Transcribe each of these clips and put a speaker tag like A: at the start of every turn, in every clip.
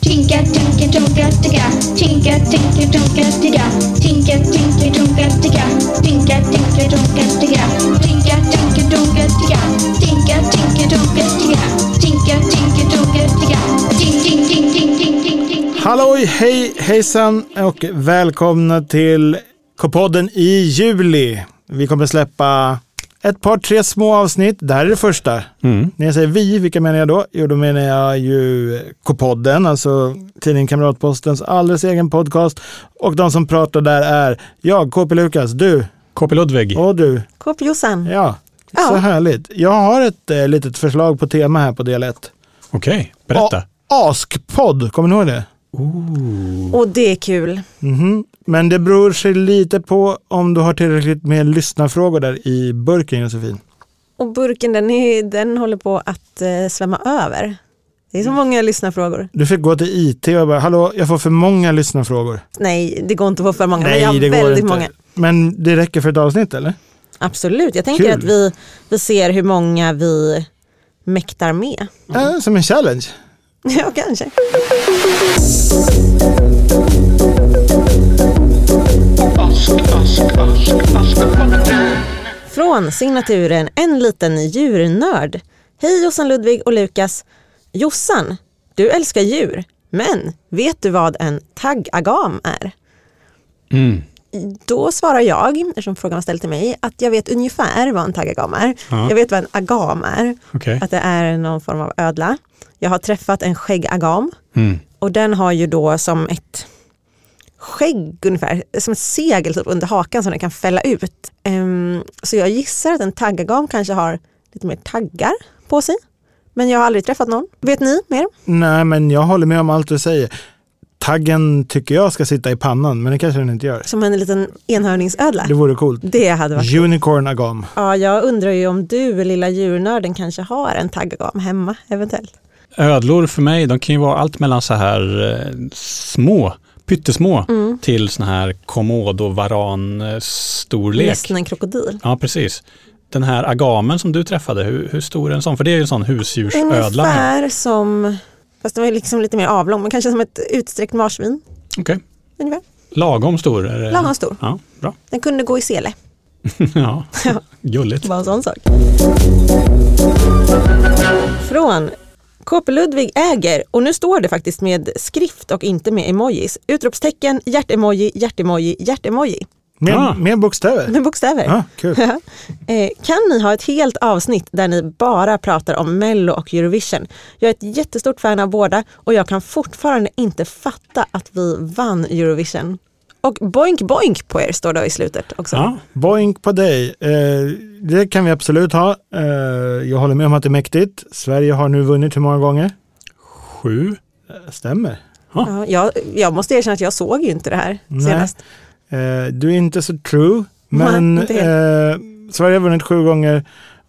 A: Tinka, tinka, tunka, ticka. Tinka, tinka, tunka, ticka. Tinka, tinka, tunka, ticka. Tinka, tinka, tunka, ticka. Tinka, tinka, tunka, ticka. Tinka, tinka, tunka, ticka. Tinka, tinka, tunka, ticka. Tink, tink, tink, tink, tink, tink, tink.
B: Halloj, hej, hejsan och välkomna till K-podden i juli. Vi kommer släppa ett par, tre små avsnitt. Det här är det första.
C: Mm.
B: När jag säger vi, vilka menar jag då? Jo, då menar jag ju K-podden, alltså tidningen Kamratpostens alldeles egen podcast. Och de som pratar där är jag, KP Lukas, du
C: KP Ludvig.
B: och du.
D: KP Jossan.
B: Ja, så
D: Ja.
B: härligt. Jag har ett eh, litet förslag på tema här på del 1.
C: Okej, berätta.
B: Askpodd, kommer ni ihåg det? Mm.
D: Och det är kul.
B: Mhm. Men det beror sig lite på om du har tillräckligt med lyssnarfrågor där i burken Josefin.
D: Och burken den, är, den håller på att eh, svämma över. Det är så
B: Mm.
D: många lyssnarfrågor.
B: Du fick gå till IT och bara, hallå, jag får för många lyssnarfrågor.
D: Nej, det går inte att få för många. men jag har
B: det går
D: väldigt
B: inte.
D: många.
B: Men det räcker för ett avsnitt eller?
D: Absolut, jag tänker
B: Kul.
D: att vi, vi ser hur många vi mäktar med.
B: Äh, som en challenge.
D: Ja, kanske. Från signaturen En liten djurnörd. Hej Jossan Ludvig och Lukas. Jossan, du älskar djur, men vet du vad en taggagam är?
C: Mm.
D: Då svarar jag, eftersom frågan var ställd till mig, att jag vet ungefär vad en taggagam är.
C: Ja.
D: Jag vet vad en agam är,
C: Okej.
D: att det är någon form av ödla. Jag har träffat en skäggagam
C: Mm.
D: och den har ju då som ett skägg ungefär, som ett segel typ under hakan som den kan fälla ut. Ehm, så jag gissar att en taggagam kanske har lite mer taggar på sig. Men jag har aldrig träffat någon. Vet ni mer?
B: Nej, men jag håller med om allt du säger. Taggen tycker jag ska sitta i pannan, men det kanske den inte gör.
D: Som en liten enhörningsödla.
B: Det vore coolt.
D: Det hade varit.
B: Unicorn agam.
D: Ja, jag undrar ju om du, lilla djurnörden, kanske har en taggagam hemma eventuellt.
C: Ödlor för mig, de kan ju vara allt mellan så här eh, små, pyttesmå,
D: Mm.
C: till sån här komodo-varan-storlek.
D: Nästan en krokodil.
C: Ja, precis. Den här agamen som du träffade, hur, hur stor är en sån? För det är ju en sån husdjursödla. här.
D: Ungefär som, fast den var ju liksom lite mer avlång, men kanske som ett utsträckt marsvin.
C: Okej.
D: Ungefär.
C: Lagom stor? Är det?
D: Lagom stor.
C: Ja, bra.
D: Den kunde gå i sele.
C: ja, gulligt.
D: Bara en sån sak. Från KP Ludvig äger, och nu står det faktiskt med skrift och inte med emojis, utropstecken, hjärtemoji, hjärtemoji, hjärtemoji.
B: Mer,
C: Ah.
B: mer bokstäver.
D: Med bokstäver.
B: Ja, kul.
D: Eh, kan ni ha ett helt avsnitt där ni bara pratar om Mello och Eurovision? Jag är ett jättestort fan av båda och jag kan fortfarande inte fatta att vi vann Eurovision. Och boink boink på er står det i slutet också.
C: Ja,
B: Boink på dig. Eh, det kan vi absolut ha. Eh, jag håller med om att det är mäktigt. Sverige har nu vunnit hur många gånger?
C: sju.
B: Eh, Stämmer.
D: Ja, jag, jag måste erkänna att jag såg ju inte det här
B: Nej.
D: senast.
B: Eh, du är inte så true,
D: Nej,
B: men
D: inte
B: eh, Sverige har vunnit sju gånger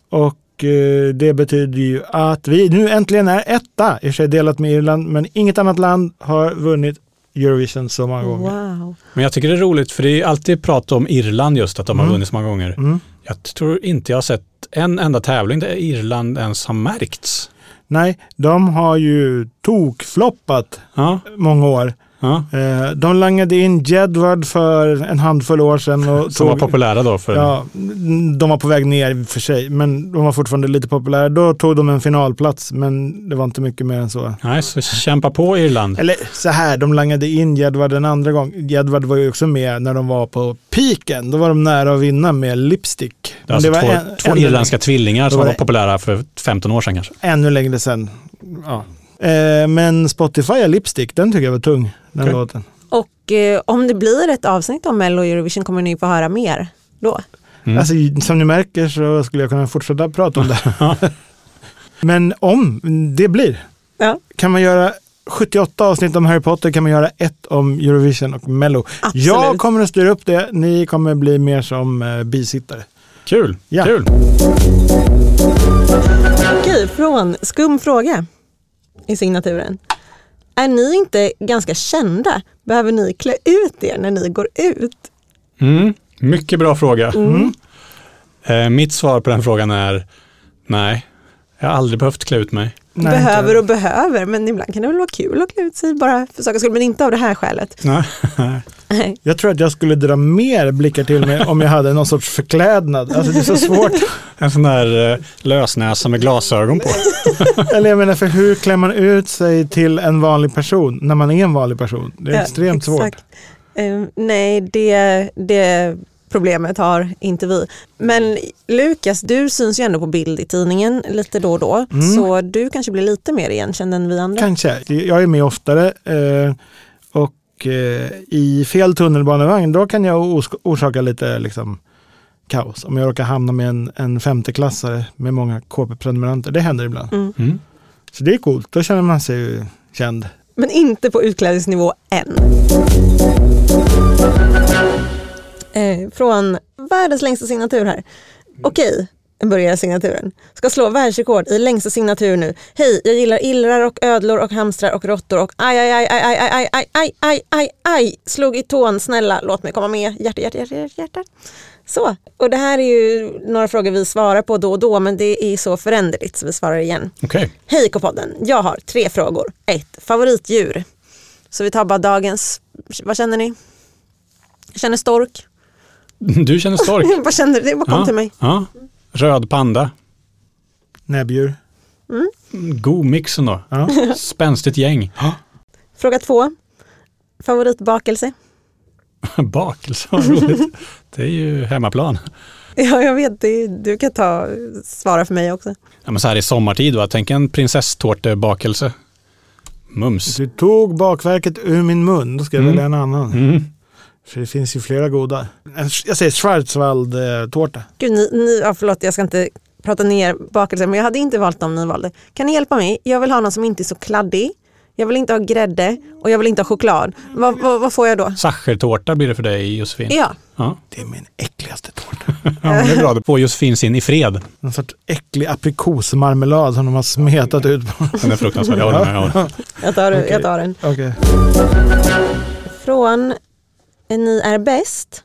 B: och eh, det betyder ju att vi nu äntligen är etta, i och för sig delat med Irland, men inget annat land har vunnit Eurovision så många gånger.
D: Wow.
C: Men jag tycker det är roligt för det är ju alltid prat om Irland just, att de har
B: Mm.
C: vunnit så många gånger.
B: Mm.
C: Jag tror inte jag har sett en enda tävling där Irland ens har märkts.
B: Nej, de har ju tokfloppat
C: Ja,
B: många år.
C: ja.
B: Eh, de langade in Jedward för en handfull år sedan. Och
C: Som var
B: tog-
C: populära då för...
B: Ja, n- de var på väg ner i och för sig, men de var fortfarande lite populära. Då tog de en finalplats, men det var inte mycket mer än så.
C: Nej, så kämpa på Irland.
B: Eller så här, de langade in Jedward en andra gång. Jedward var ju också med när de var på piken. Då var de nära att vinna med Lipstick.
C: Det är alltså
B: var
C: två,
B: en-
C: två
B: ännu
C: irländska tvillingar som
B: var
C: var,
B: det-
C: populära för 15 år sedan kanske.
B: Ännu längre sedan. Ja. Eh, men Spotify Lipstick, den tycker jag var tung, den
C: Okej.
B: låten.
D: Och eh, om det blir ett avsnitt om Mello och Eurovision kommer ni få höra mer då.
C: Mm.
B: Alltså, som ni märker så skulle jag kunna fortsätta prata om det. men om det blir,
D: Ja.
B: kan man göra 78 avsnitt om Harry Potter kan man göra ett om Eurovision och Mello.
D: Absolut.
B: Jag kommer att styra upp det, ni kommer bli mer som eh, bisittare.
C: Kul,
B: Ja.
C: kul.
D: Okej, från skum fråga i signaturen. Är ni inte ganska kända? Behöver ni klä ut er när ni går ut?
C: Mm. Mycket bra fråga.
B: Mm.
C: Eh, mitt svar på den frågan är nej. Jag har aldrig behövt klä ut mig.
B: Nej,
D: behöver
B: inte.
D: och behöver, men ibland kan det väl vara kul att klä ut sig bara för sakens skull, men inte av det här skälet.
C: Nej.
D: Nej.
B: Jag tror att jag skulle dra mer blickar till mig om jag hade någon sorts förklädnad. Alltså det är så svårt.
C: En sån där eh, lösnäsa med glasögon på.
B: Eller jag menar, för hur klär man ut sig till en vanlig person när man är en vanlig person? Det är
D: Ja,
B: extremt svårt.
D: exakt. Eh, nej, det, det problemet har inte vi. Men Lukas, du syns ju ändå på bild i tidningen lite då och då,
B: Mm.
D: så du kanske blir lite mer igenkänd än vi andra.
B: Kanske. Jag är med oftare. eh, Och eh, i fel tunnelbanevagn, då kan jag os- orsaka lite liksom, kaos. Om jag råkar hamna med en, en femteklassare med många KP-prenumeranter. Det händer ibland.
D: Mm.
C: Mm.
B: Så det är coolt. Då känner man sig ju känd.
D: Men inte på utklädningsnivå än. Eh, från världens längsta signatur här. Okej, börjar signaturen. Ska slå världsrekord i längsta signatur nu. Hej, jag gillar illrar och ödlor och hamstrar och råttor och aj, aj, aj, aj, aj, aj, aj, aj, aj, aj, aj, slog i tån, snälla låt mig komma med. Hjärta, hjärta, hjärta, hjärta, hjärta. Så, och det här är ju några frågor vi svarar på då och då, men det är så föränderligt så vi svarar igen.
C: Okej.
D: Hej K-podden, jag har tre frågor. Ett, Favoritdjur. Så vi tar bara dagens. Vad känner ni? Jag känner stork.
C: Du känner stork.
D: Vad känner du? Det bara kom till mig.
C: ja. Röd panda.
B: Näbbdjur.
C: God mix ändå.
B: Ja.
C: Spänstigt gäng.
D: Fråga två. Favoritbakelse?
C: Bakelse, vad roligt. Det är ju hemmaplan.
D: Ja, jag vet. Det, du kan ta, svara för mig också.
C: Ja, men så här i sommartid, va? tänk en prinsesstårtebakelse. Mums.
B: Du tog bakverket ur min mun, då ska jag
C: Mm.
B: välja en annan.
C: Mm.
B: För det finns ju flera goda. En- Jag säger eh, Schwarzwald-tårta.
D: Gud, ni, ni, ja, förlåt, jag ska inte prata ner bakelser, men jag hade inte valt dem ni valde. Kan ni hjälpa mig? Jag vill ha någon som inte är så kladdig. Jag vill inte ha grädde och jag vill inte ha choklad. Vad- vad- vad får jag då?
C: Sachertårta blir det för dig Josefin.
D: Ja,
C: Ja.
B: Det är min äckligaste tårta.
C: ja, men det är bra. Då får Josefin sin i fred.
B: Någon sorts äcklig aprikosmarmelad som de har smetat ut på.
C: Den är fruktansvärd. Jag håller med. jag håller med.
D: jag tar, jag tar den.
B: Okej.
D: Från "Eh, Ni är bäst.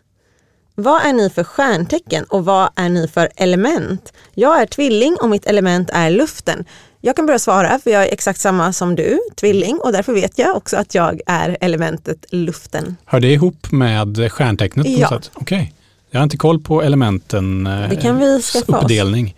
D: Vad är ni för stjärntecken och vad är ni för element? Jag är tvilling och mitt element är luften. Jag kan börja svara för jag är exakt samma som du, tvilling, och därför vet jag också att jag är elementet luften.
C: Hör det ihop med stjärntecknet på något
D: Ja.
C: sätt? Okej. Jag har inte koll på elementen. eh,
D: Det kan vi skaffa oss.
C: Uppdelning.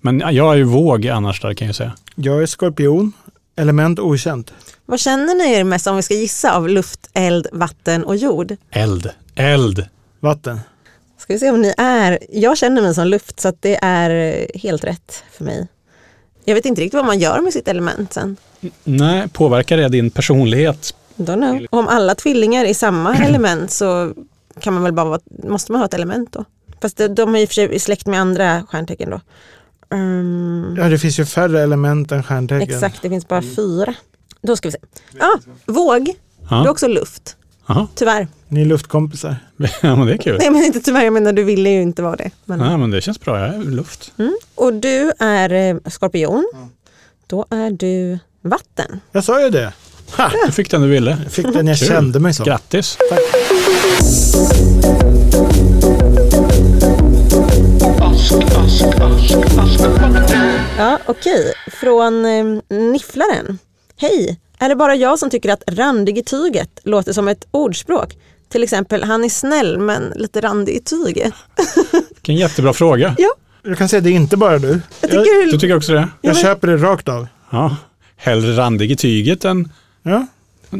C: Men jag är ju våg annars där kan jag säga.
B: Jag är skorpion. Element okänt.
D: Vad känner ni er mest om vi ska gissa av luft, eld, vatten och jord?
C: Eld. Eld.
B: Vatten.
D: Ska vi se om ni är... Jag känner mig som luft så att det är eh, helt rätt för mig. Jag vet inte riktigt vad man gör med sitt element sen.
C: Nej, påverkar det din personlighet?
D: Don't know. Om alla tvillingar är samma element så kan man väl bara vara, måste man ha ett element då? Fast de, de är i och för sig i släkt med andra stjärntecken då. Ehm,
B: Ja, det finns ju färre element än stjärntecken.
D: exakt, det finns bara fyra. Då ska vi se. Ah, våg, det är
C: Mm. Ja.
D: också luft.
C: Aha.
D: Tyvärr.
B: Ni är luftkompisar.
C: ja, men det är kul.
D: Nej men inte tyvärr, jag menar du ville ju inte vara det. Men.
C: Ja, men det känns bra. Jag är luft.
D: Och du är eh, skorpion. Då är du vatten.
B: Jag sa ju det. Ha!
C: Du fick den du ville.
B: Fick den jag
C: Kul.
B: kände mig som.
C: Grattis.
D: Ja, okej. Från eh, Nifflaren. Hej! Är det bara jag som tycker att randig i tyget låter som ett ordspråk? Till exempel, han är snäll men lite randig i tyget.
C: Vilken jättebra fråga.
D: Ja,
B: Jag kan säga det är inte bara du.
D: jag tycker
C: Du tycker också det?
B: Jag
D: men-
B: köper det rakt av.
C: Ja. Hellre randig i tyget än
B: Ja.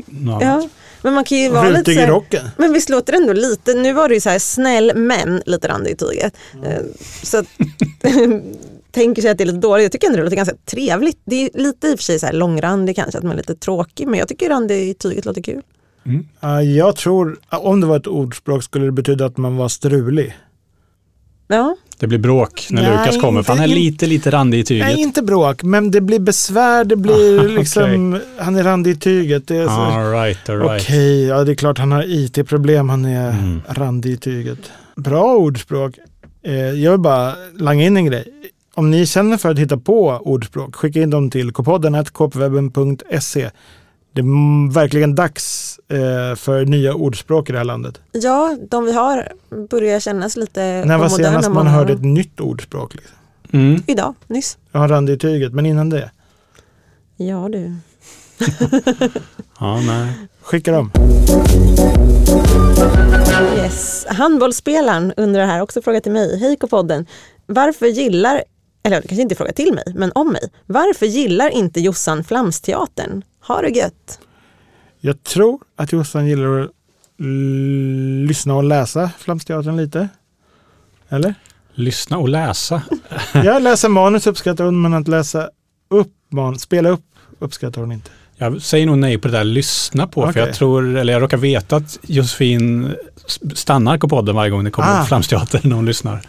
C: något annat.
D: ja. Men man kan ju vara lite
B: Rutig
D: så
B: i
D: här,
B: rocken.
D: Men visst låter det ändå lite, nu var det ju så här snäll men lite randig i tyget. Eh, Så att, tänker sig att det är lite dåligt. Jag tycker ändå det låter ganska trevligt. Det är lite i och för sig så här långrandig kanske, att man är lite tråkig. Men jag tycker randig i tyget låter kul.
B: Ja, jag tror, om det var ett ordspråk skulle det betyda att man var strulig.
D: Ja,
C: Det blir bråk när
B: Nej,
C: Lukas kommer för han är
B: inte-
C: lite, lite randig i tyget.
B: Nej, inte bråk, men det blir besvär, det blir liksom, han är randig i tyget. Det är så,
C: All right, all
B: Okej,
C: right.
B: ja det är klart han har IT-problem, han är randig i tyget. Bra ordspråk. Eh, jag vill bara langa in en grej. Om ni känner för att hitta på ordspråk, skicka in dem till kpodden kpwebben.se. Det är m- verkligen dags eh, för nya ordspråk i det här landet.
D: Ja, de vi har börjar kännas lite
B: När var
D: omoderna,
B: senast man
D: Eh, många av
B: hörde ett
D: dem.
B: nytt ordspråk? Liksom?
C: Mm.
D: Idag, nyss.
B: Jag har randig i tyget, men innan det.
D: Ja du.
C: Ja, nej.
B: Skicka dem.
D: Yes. Handbollsspelaren undrar här, också fråga till mig. Hej K-podden. Varför gillar, eller kanske inte fråga till mig, men om mig. Varför gillar inte Jossan Flamsteatern? Har det gött.
B: Jag tror att Jossan gillar att l- lyssna och läsa Flamsteatern lite. Eller?
C: Lyssna och läsa.
B: Jag läser manus uppskattar hon, men att läsa upp manus, spela upp uppskattar hon inte.
C: Jag säger nog nej på det där lyssna på, för
B: Okej.
C: jag tror, eller jag råkar veta att Josefin s- stannar på podden varje gång det kommer
B: Ah.
C: upp Flamsteatern när hon lyssnar.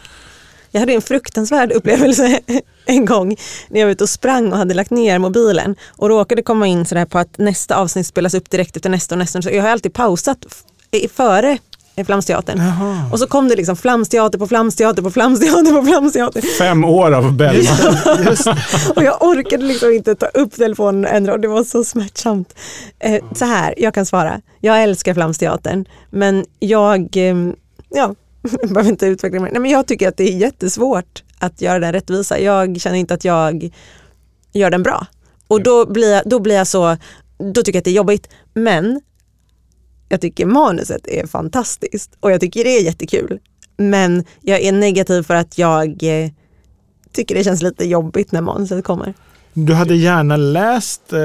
D: Jag hade en fruktansvärd upplevelse en gång när jag var ute och sprang och hade lagt ner mobilen och råkade komma in sådär på att nästa avsnitt spelas upp direkt efter nästa och nästa. Så jag har alltid pausat f- i- före Flamsteatern.
B: Jaha.
D: Och så kom det liksom Flamsteater på Flamsteater på Flamsteater på Flamsteater.
C: Fem år av Bellman.
B: Just det.
D: Och jag orkade liksom inte ta upp telefonen och ändra och det var så smärtsamt. Eh, så här, jag kan svara. Jag älskar Flamsteatern men jag, eh, ja, jag behöver inte utveckla mig. Nej, men jag tycker att det är jättesvårt att göra den rättvisa. Jag känner inte att jag gör den bra. Och då blir jag, då blir jag så, då tycker jag att det är jobbigt. Men jag tycker manuset är fantastiskt och jag tycker det är jättekul. Men jag är negativ för att jag eh, tycker det känns lite jobbigt när manuset kommer.
B: Du hade gärna läst eh,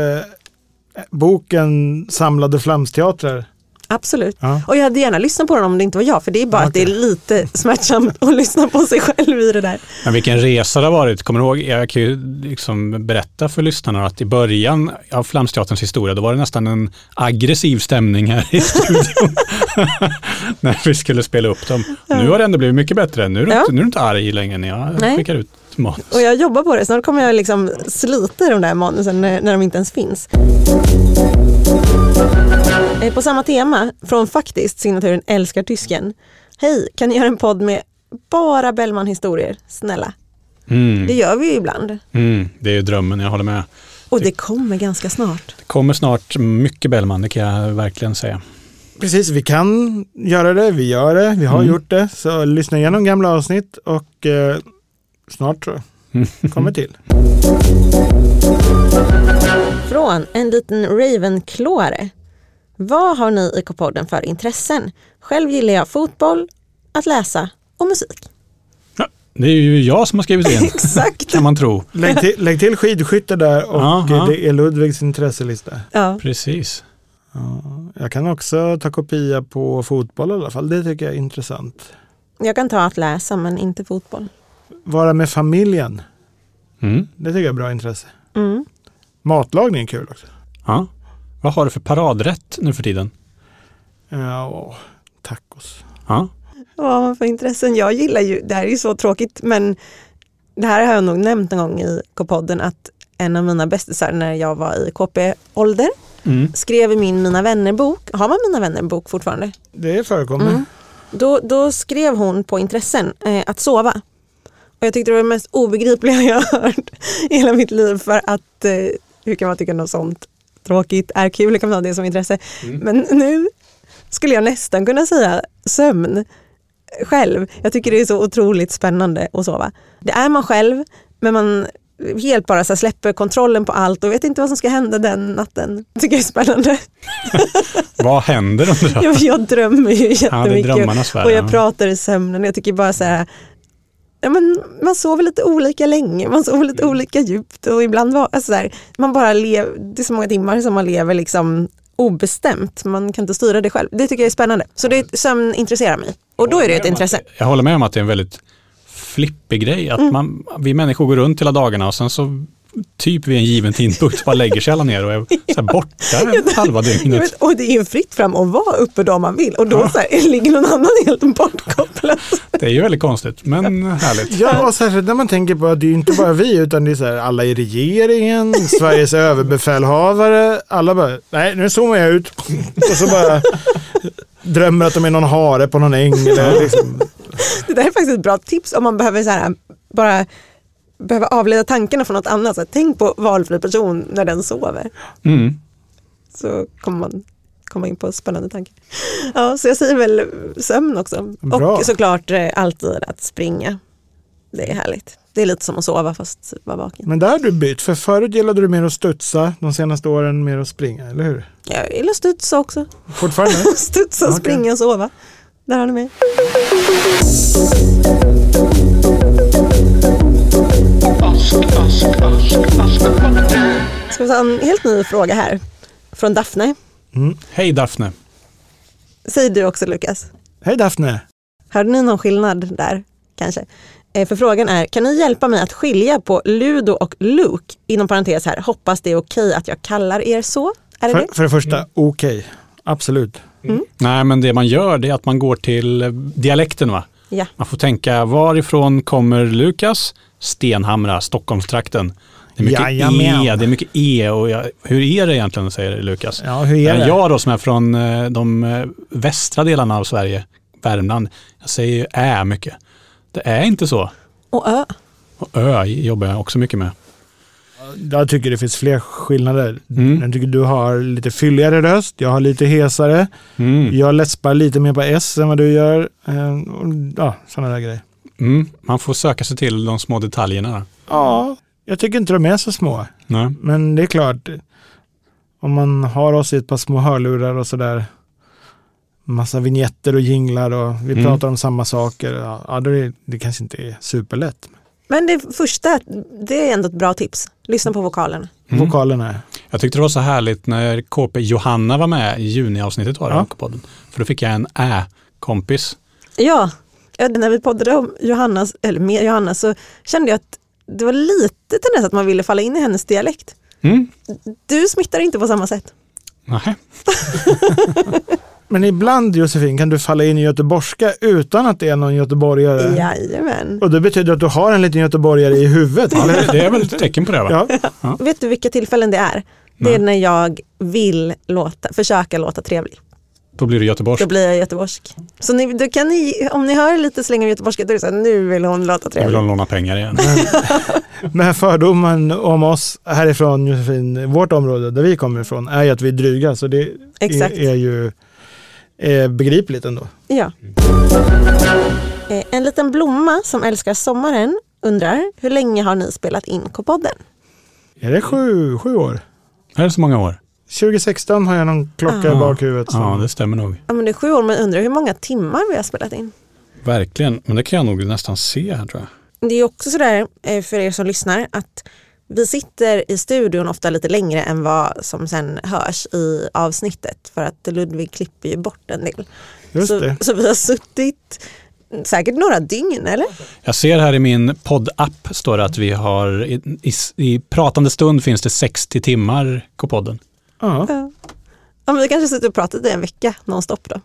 B: boken Samlade Flamsteatrar.
D: Absolut.
B: Ja.
D: Och jag hade gärna lyssnat på den om det inte var jag, för det är bara att det är lite smärtsamt att lyssna på sig själv i det där.
C: Men vilken resa det har varit. Kommer du ihåg, jag kan ju liksom berätta för lyssnarna att i början av Flamsteaterns historia, då var det nästan en aggressiv stämning här i studion. När vi skulle spela upp dem. Nu har det ändå blivit mycket bättre. Nu är du,
D: Ja.
C: inte, nu är du inte arg längre när jag
D: Nej.
C: skickar ut manus.
D: Och jag jobbar på det, snart kommer jag liksom slita i de där manusen när, när de inte ens finns. Eh, På samma tema, från faktiskt signaturen Älskar tysken. Hej, kan ni göra en podd med bara Bellman-historier? Snälla.
C: Mm,
D: Det gör vi ju ibland.
C: mm, det är ju drömmen, jag håller med.
D: Och det kommer ganska snart.
C: Det kommer snart mycket Bellman, det kan jag verkligen säga.
B: Precis, vi kan göra det, vi gör det, vi har
C: Mm.
B: gjort det. Så lyssna igenom gamla avsnitt och eh, snart tror jag kommer till.
D: Från en liten Ravenklåare. Vad har ni i K-podden för intressen? Själv gillar jag fotboll, att läsa och musik.
C: Ja, det är ju jag som har skrivit in,
D: Exakt.
C: kan man tro.
B: Lägg till, lägg till skidskytte där och
C: Aha.
B: eh, det är Ludvigs intresselista.
D: Ja.
C: Precis.
B: Jag kan också ta kopia på fotboll i alla fall, det tycker jag är intressant.
D: Jag kan ta att läsa men inte fotboll.
B: Vara med familjen,
C: Mm.
B: det tycker jag är bra intresse.
D: Mm.
B: Matlagning är kul också.
C: Ja. Vad har du för paradrätt nu för tiden?
B: Ja, åh, tacos.
C: Ja.
D: Vad har man för intressen? Jag gillar ju, det här är ju så tråkigt men det här har jag nog nämnt en gång i K-podden att en av mina bästisar när jag var i KP-ålder
C: Mm.
D: skrev i min Mina vänner-bok, har man Mina vänner-bok fortfarande?
B: Det förekommer.
D: Då, då skrev hon på intressen eh, att sova. Och jag tyckte det var det mest obegripliga jag har hört i hela mitt liv för att eh, hur kan man tycka något sånt tråkigt är kul, det kan man ha det som intresse. Men nu skulle jag nästan kunna säga sömn själv. Jag tycker det är så otroligt spännande att sova. Det är man själv, men man helt bara så här släpper kontrollen på allt och vet inte vad som ska hända den natten. Det tycker jag är spännande.
C: Vad händer undrar jag?
D: Jag, jag drömmer ju
C: Ja, det är
D: jättemycket.
C: drömmarnas värld.
D: Och
C: ja.
D: jag pratar i sömnen. Jag tycker bara så här, ja, men man sover lite olika länge, man sover
C: Mm.
D: lite olika djupt och ibland var, alltså så här, man bara lever, det är så många timmar som man lever liksom obestämt. Man kan inte styra det själv. Det tycker jag är spännande. Så det, sömn intresserar mig och då är det ett intresse. Mm.
C: Jag håller med om att det är en väldigt flippig grej. Att man, vi människor går runt hela dagarna och sen så typ vid en given tidpunkt bara lägger sig alla ner och är så här borta halva
D: Jag
C: dygnet.
D: vet, och det är ju fritt fram att vara uppe då man vill och då så här, ligger någon annan helt bortkopplad.
C: Det är ju väldigt konstigt men härligt.
B: Ja, och särskilt när man tänker på att det är ju inte bara vi, utan det är så här, alla i regeringen, Sveriges överbefälhavare, alla bara, nej nu zoomar jag ut och så bara drömmer att de är någon hare på någon äng. Eller liksom.
D: Det där är faktiskt ett bra tips om man behöver så här, bara behöver avleda tankarna från något annat. Så här, tänk på valfri person när den sover.
C: Mm.
D: Så kommer man komma in på spännande tankar. Ja, så jag säger väl sömn också.
B: Bra.
D: Och såklart eh, alltid att springa. Det är härligt. Det är lite som att sova fast vara vaken.
B: Men där har du bytt, för förut gillade du mer att studsa, de senaste åren mer att springa, eller hur?
D: Jag gillar studsa också.
B: Fortfarande?
D: Studsa,
B: Okej.
D: springa och sova. Där har ni mig. Ska vi ta en helt ny fråga här. Från Daphne.
C: Hej Daphne.
D: Säg du också Lukas.
B: Hej Daphne!
D: Hörde ni någon skillnad där kanske? Eh, För frågan är, kan ni hjälpa mig att skilja på Ludo och Luke? Inom parentes här, hoppas det är okej att jag kallar er så. Är det
B: För,
D: det?
B: för det första, okej. Absolut.
C: Nej, men det man gör det är att man går till eh, dialekten va?
D: Ja.
C: Man får tänka, varifrån kommer Lukas? Stenhamra, Stockholmstrakten. Det är mycket
B: Jajamän.
C: E, det är mycket E och jag, hur är det egentligen, säger Lukas. Eh,
B: Ja, hur är det?
C: Jag då som är från eh, de eh, västra delarna av Sverige, Värmland, jag säger ju Ä mycket. Det är inte så.
D: Och Ö.
C: Och Ö jobbar jag också mycket med.
B: Jag tycker det finns fler skillnader.
C: Mm.
B: Jag tycker du har lite fylligare röst, jag har lite hesare,
C: Mm.
B: jag läspar lite mer på S än vad du gör. Eh, och, Ja, sådana där grejer.
C: Mm. Man får söka sig till de små detaljerna.
B: Ja, jag tycker inte de är så små.
C: Nej.
B: Men det är klart, om man har oss i ett par små hörlurar och sådär, massa vignetter och jinglar och vi
C: Mm.
B: pratar om samma saker, ja, ja, då är det, det kanske inte är superlätt.
D: Men det första, det är ändå ett bra tips. Lyssna på vokalerna.
C: Mm.
B: Vokalerna.
C: Jag tyckte det var så härligt när KP Johanna var med i juniavsnittet var det,
B: Ja.
C: av podden. För då fick jag en ä-kompis.
D: Ja, ja, när vi poddade om Johannas, eller med Johanna så kände jag att det var lite tendens att man ville falla in i hennes dialekt.
C: Mm.
D: Du smittar inte på samma sätt.
C: Nej.
B: Men ibland Josefin kan du falla in i göteborgska utan att det är någon göteborgare.
D: Jajamän.
B: Och det betyder att du har en liten göteborgare i huvudet. eller?
C: Det är väl ett tecken på det va?
B: Ja.
D: Vet du vilka tillfällen det är? Det är när jag vill låta, försöka låta trevlig.
C: Då blir det Göteborg.
D: Då blir jag göteborgsk. Så ni, då kan ni, om ni hör lite släng av göteborgska, då är det så här, nu vill hon låta
C: Jag vill
D: trevlig.
C: hon låna pengar igen.
B: Men fördomen om oss härifrån Josefin, vårt område där vi kommer ifrån, är ju att vi är dryga. Så det
D: Exakt.
B: är ju eh, begripligt ändå.
D: Ja. Eh, En liten blomma som älskar sommaren undrar, hur länge har ni spelat in K-podden?
B: Är det sju, sju år?
C: Är det så många år?
B: 2016 har jag någon klocka i
C: Ja.
B: bakhuvudet. som-
C: Ja, det stämmer nog.
D: Ja, men det är sju år, men undrar hur många timmar vi har spelat in.
C: Verkligen, men det kan jag nog nästan se här tror jag.
D: Det är också sådär eh, för er som lyssnar att vi sitter i studion ofta lite längre än vad som sen hörs i avsnittet för att Ludvig klipper ju bort en del.
B: Just
D: så,
B: det.
D: så vi har suttit säkert några dygn eller?
C: Jag ser här i min poddapp står det att vi har, i, i, i pratande stund finns det 60 timmar K-podden.
B: Ja.
D: Ja. Ja, men vi kanske sitter och pratat i en vecka nonstop då.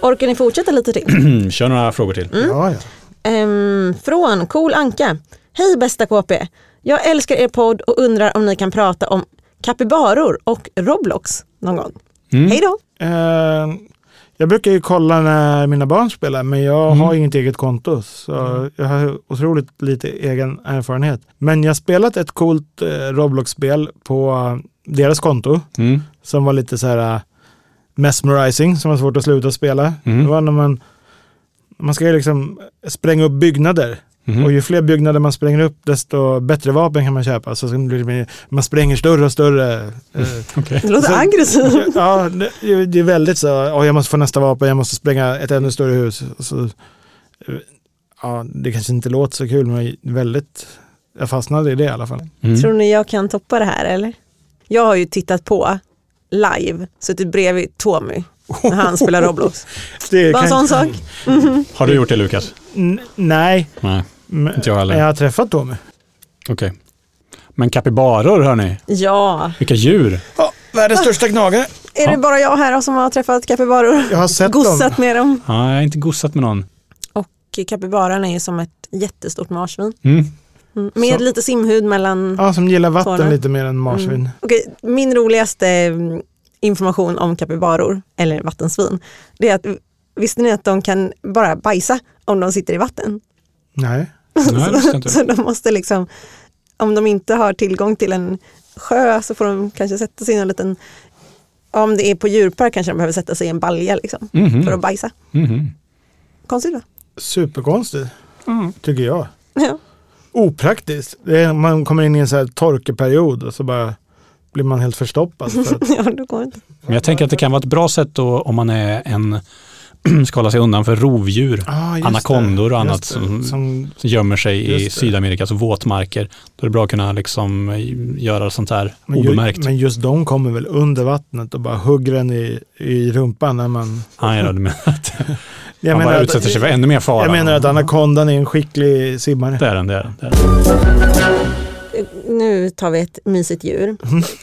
D: Orkar ni fortsätta lite till?
C: Mm, Kör några frågor till.
D: Mm.
B: Ja, ja.
D: Ehm, från Cool Anka. Hej bästa KP. Jag älskar er podd och undrar om ni kan prata om kapibaror och Roblox någon gång.
B: Mm.
D: Hej då.
B: Eh, jag brukar ju kolla när mina barn spelar, men jag har inget eget konto. Så jag har otroligt lite egen erfarenhet. Men jag har spelat ett coolt eh, Roblox-spel på eh, deras konto.
C: Mm.
B: som var lite så här eh, mesmerizing, som var svårt att sluta spela.
C: Mm.
B: Det var när man, man ska ju liksom spränga upp byggnader. Och ju fler byggnader man spränger upp, desto bättre vapen kan man köpa. Så det blir det mer- man spränger större och större. Eh,
C: Okej.
D: Det låter
B: Så-
D: aggressivt.
B: ja, det, det är väldigt så, "Åh, jag måste få nästa vapen, jag måste spränga ett ännu större hus. Så, eh, ja, det kanske inte låter så kul, men väldigt, jag fastnade i det i alla fall.
C: Mm.
D: Tror ni jag kan toppa det här eller? Jag har ju tittat på live, suttit bredvid Tommy när han spelar Roblox.
B: Det
D: Bara en sån sak.
C: Har du gjort det Lukas?
B: N- nej,
C: Nej,
B: men
C: inte jag heller.
B: jag har träffat Tommy.
C: Okej. Men kapibaror hörni,
D: Ja,
C: vilka djur.
B: Ja, världens största gnagare.
D: är det bara jag här som har träffat kapibaror?
B: Jag har sett dem.
D: Gossat med dem.
C: Ja, jag har inte gossat med någon.
D: Och kapibaran är ju som ett jättestort marsvin.
C: Mm.
D: Mm, Med lite simhud mellan
B: Ja, som gillar vatten
D: Tårna.
B: lite mer än marsvin.
D: Okej, min roligaste mm, information om kapibaror, eller vattensvin, det är att visste ni att de kan bara bajsa om de sitter i vatten?
B: Nej.
C: Nej, det visste jag inte.
D: Så de måste liksom, om de inte har tillgång till en sjö så får de kanske sätta sig i en liten, ja, om det är på djurpark kanske de behöver sätta sig i en balja liksom,
C: Mhm.
D: för att bajsa.
C: Mhm.
D: Konstigt va?
B: Superkonstigt, tycker jag.
D: Ja.
B: Opraktiskt. Det är, man kommer in i en så här torkeperiod och så bara blir man helt förstoppad. För att,
D: ja, det går inte.
C: Men jag tänker att det kan vara ett bra sätt då, om man är en, ska hålla sig undan för rovdjur,
B: Ah, just
C: Anakondor och
B: det,
C: annat
B: just det.
C: som-
B: som
C: som gömmer sig
B: Just
C: i
B: det.
C: Sydamerikas våtmarker. Då är det bra att kunna liksom eh, göra sånt här
B: Men,
C: obemärkt.
B: ju, men just de kommer väl under vattnet och bara hugger en i, i rumpan när man...
C: Nej, då, du menar att
B: Jag
C: man bara
B: att-
C: utsätter sig för ännu mer fara.
B: Jag menar att anakondan är en skicklig simmare.
C: Det är den, det är den. Det är den.
D: Nu tar vi ett mysigt djur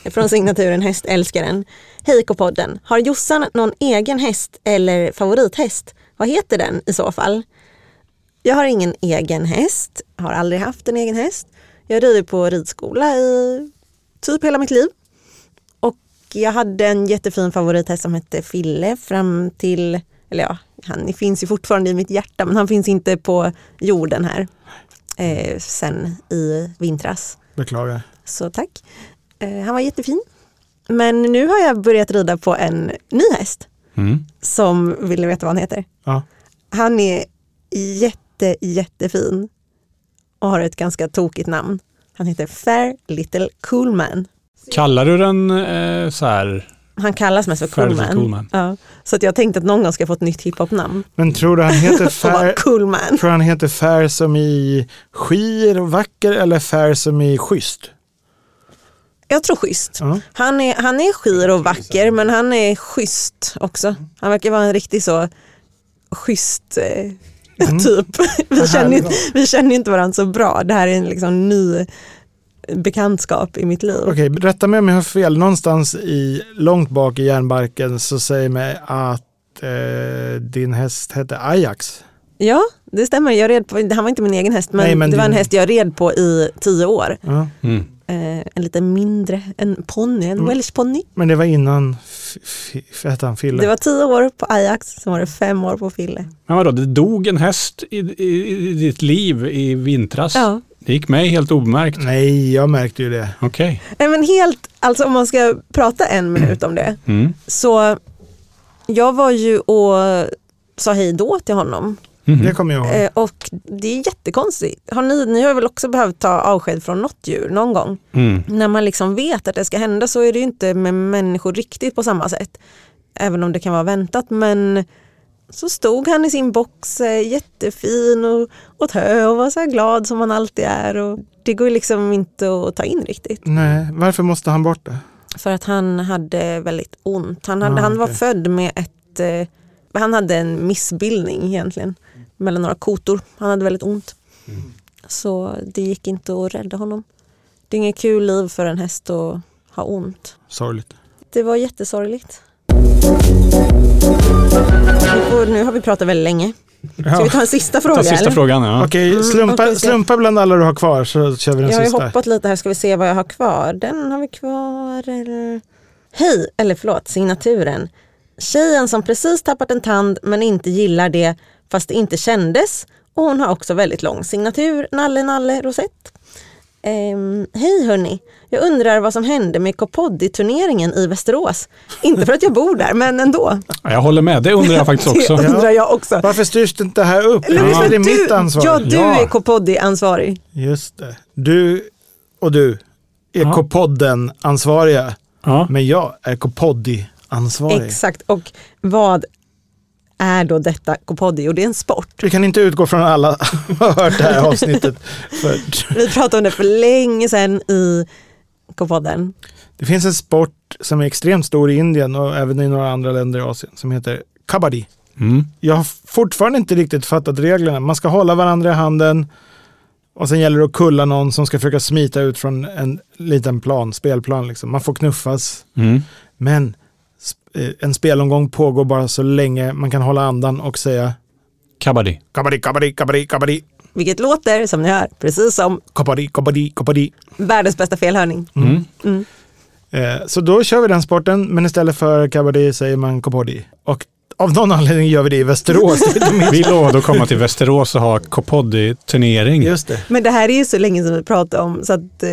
D: från signaturen Hästälskaren. Hej K-podden! Har Jossan någon egen häst eller favorithäst? Vad heter den i så fall? Jag har ingen egen häst, har aldrig haft en egen häst. Jag rider på ridskola i typ hela mitt liv. Och jag hade en jättefin favorithäst som hette Fille fram till, eller ja, han finns ju fortfarande i mitt hjärta men han finns inte på jorden här eh, sen i vintras.
B: Beklagar.
D: Så tack. Eh, han var jättefin. Men nu har jag börjat rida på en ny häst
C: Mm.
D: som vill ni veta vad han heter.
B: Ja.
D: Han är jätte, jättefin och har ett ganska tokigt namn. Han heter Fair Little Coolman.
C: Kallar du den eh, så här,
D: Han kallas mest för
C: Fair Little
D: Coolman.
C: Coolman.
D: Ja, så att jag tänkte att någon gång ska jag få ett nytt hiphop-namn.
B: Men tror du han heter
D: Och bara
B: fair,
D: Coolman.
B: tror han heter fair som i skir och vacker eller fair som i schysst?
D: Jag tror schysst.
B: Ja.
D: Han är, han är skir och vacker men han är schysst också. Han verkar vara en riktig så schysst eh,
B: Mm.
D: typ. Vi känner, ju- vi känner ju inte varandra så bra. Det här är en liksom ny bekantskap i mitt liv.
B: Okej, rätta mig om jag har fel. Någonstans i, långt bak i järnbarken så säger mig att eh, din häst hette Ajax.
D: Ja, det stämmer. Jag red på, han var inte min egen häst men,
B: Nej, men
D: det var en
B: din-
D: häst jag red på i tio år.
B: Ja.
C: Mm.
D: Eh, en lite mindre, en ponny, en
B: Mm.
D: welsh ponny.
B: Men det var innan, f- f- f- hette han Fille?
D: Det var tio år på Ajax, sen var det fem år på Fille.
C: Men vadå, det dog en häst i, i, i ditt liv i vintras.
D: Ja.
C: Det gick mig helt obemärkt.
B: Nej, jag märkte ju det.
C: Okej.
D: Nej men helt, alltså om man ska prata en minut om det.
C: Mm.
D: Så jag var ju och sa hej då till honom
B: Det kommer jag ihåg.
D: eh, och det är jättekonstigt. Har ni, ni har väl också behövt ta avsked från något djur någon gång?
C: Mm.
D: När man liksom vet att det ska hända så är det ju inte med människor riktigt på samma sätt. Även om det kan vara väntat men så stod han i sin box eh, jättefin och åt hö och var så här glad som han alltid är och det går ju liksom inte att ta in riktigt.
B: Nej, varför måste han bort det?
D: För att han hade väldigt ont. Han, hade,
B: Ah,
D: han var
B: okej.
D: född med ett, eh, han hade en missbildning egentligen. Mellan några kotor. Han hade väldigt ont. Så det gick inte att rädda honom. Det är inget kul liv för en häst att ha ont.
B: Sorgligt.
D: Det var jättesorgligt. Nu, får, nu har vi pratat väldigt länge. Ska
B: Ja.
D: vi ta en sista fråga?
C: Ta sista
D: eller?
C: frågan. Ja.
B: Okej,
D: Mm,
B: slumpa,
D: okej, ska-
B: slumpa bland alla du har kvar så kör vi den
D: Jag har ju
B: sista.
D: hoppat lite här, ska vi se vad jag har kvar. Den har vi kvar. Eller... Hej, eller förlåt, signaturen. Tjejen som precis tappat en tand men inte gillar det fast det inte kändes. Och hon har också väldigt lång signatur, Nalle Nalle Rosett. Ehm, Hej hörni, jag undrar vad som hände med Kopoddi-turneringen i Västerås. Inte för att jag bor där, men ändå.
C: Jag håller med, det undrar jag faktiskt också.
D: Det undrar jag också.
B: Varför styrs det inte här upp?
D: Eller
B: Visst
D: för
B: är det
D: att du-
B: mitt ansvar?
D: Ja, du
C: Ja.
D: är Kopoddi-ansvarig.
B: Just det. Du och du är
C: Ja.
B: K-podden ansvariga,
C: Ja.
B: men jag är K-poddi ansvarig.
D: Exakt, och vad är då detta Kopoddi? Jo, det är en sport.
B: Vi kan inte utgå från alla har hört det här avsnittet. För
D: Vi pratade om det för länge sedan i K-podden.
B: det finns en sport som är extremt stor i Indien och även i några andra länder i Asien som heter kabaddi.
C: Mm.
B: Jag har fortfarande inte riktigt fattat reglerna. Man ska hålla varandra i handen och sen gäller det att kulla någon som ska försöka smita ut från en liten plan, spelplan. Liksom. Man får knuffas.
C: Mm.
B: Men sp- eh, en spelomgång pågår bara så länge man kan hålla andan och säga
C: Kabaddi.
B: kabaddi, kabaddi, kabaddi, kabaddi,
D: Vilket låter som ni hör, precis som
B: kabaddi, kabaddi, kabaddi.
D: världens bästa felhörning.
C: Mm.
B: Eh, Så då kör vi den sporten, men istället för kabaddi säger man kabaddi. Och Av någon anledning gör vi det i Västerås. Det är inte min-
C: Vi lovade att komma till Västerås och ha Copoddi-turnering.
B: Just det.
D: Men det här är ju så länge sedan vi pratade om så att eh,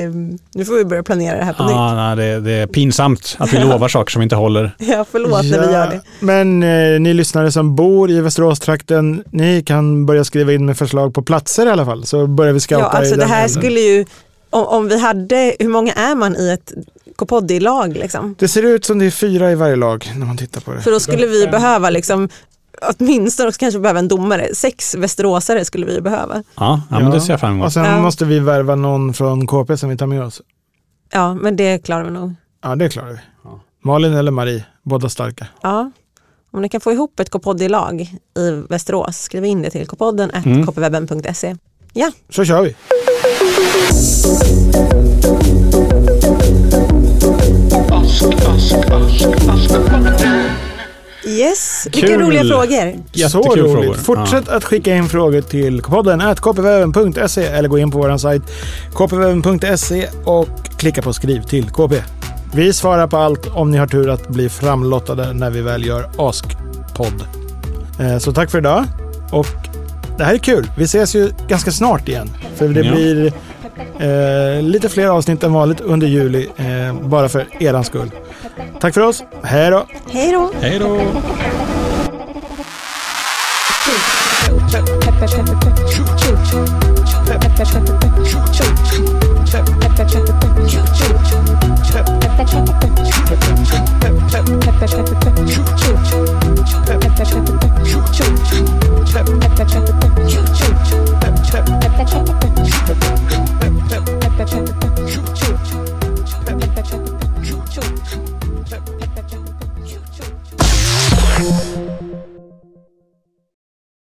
D: nu får vi börja planera det här på nytt.
C: Ah, nej, det, det är pinsamt att vi lovar saker som vi inte håller.
D: Ja, förlåt när vi gör det.
B: Men eh, ni lyssnare som bor i Västerås-trakten, ni kan börja skriva in med förslag på platser i alla fall. Så börjar vi scouta
D: Ja, alltså
B: i
D: det
B: den
D: här
B: änden.
D: skulle ju, om, om vi hade, hur många är man i ett Copoddi-lag liksom?
B: Det ser ut som det är fyra i varje lag när man tittar på det.
D: För då skulle vi behöva liksom, åtminstone också kanske behöva en domare, sex västeråsare skulle vi behöva.
C: Ja, ja, men det ser jag fram
B: Och
C: emot.
B: sen
D: Ja.
B: måste vi värva någon från KP som vi tar med oss.
D: Ja, men det klarar vi nog.
B: Ja, det klarar vi. Malin eller Marie, båda starka.
D: Ja. Om ni kan få ihop ett Copoddi-lag i Västerås, skriv in det till kopodden
C: Mm.
D: kpwebben.se. Ja,
B: Så kör vi.
D: yes, vilka
C: Kul.
D: roliga frågor.
C: Jättekul
B: Så roligt.
C: frågor.
B: Fortsätt att skicka in frågor till podden at kpwebben.se eller gå in på vår sajt kpwebben.se och klicka på skriv till KP. Vi svarar på allt om ni har tur att bli framlottade när vi väl gör Ask-podd. Eh, Så tack för idag och det här är kul. Vi ses ju ganska snart igen. För det
C: Ja.
B: blir eh, lite fler avsnitt än vanligt under juli eh, bara för erans skull. Tack för oss. Hej då!
D: Hej då!
C: Hej då!
A: Thank you.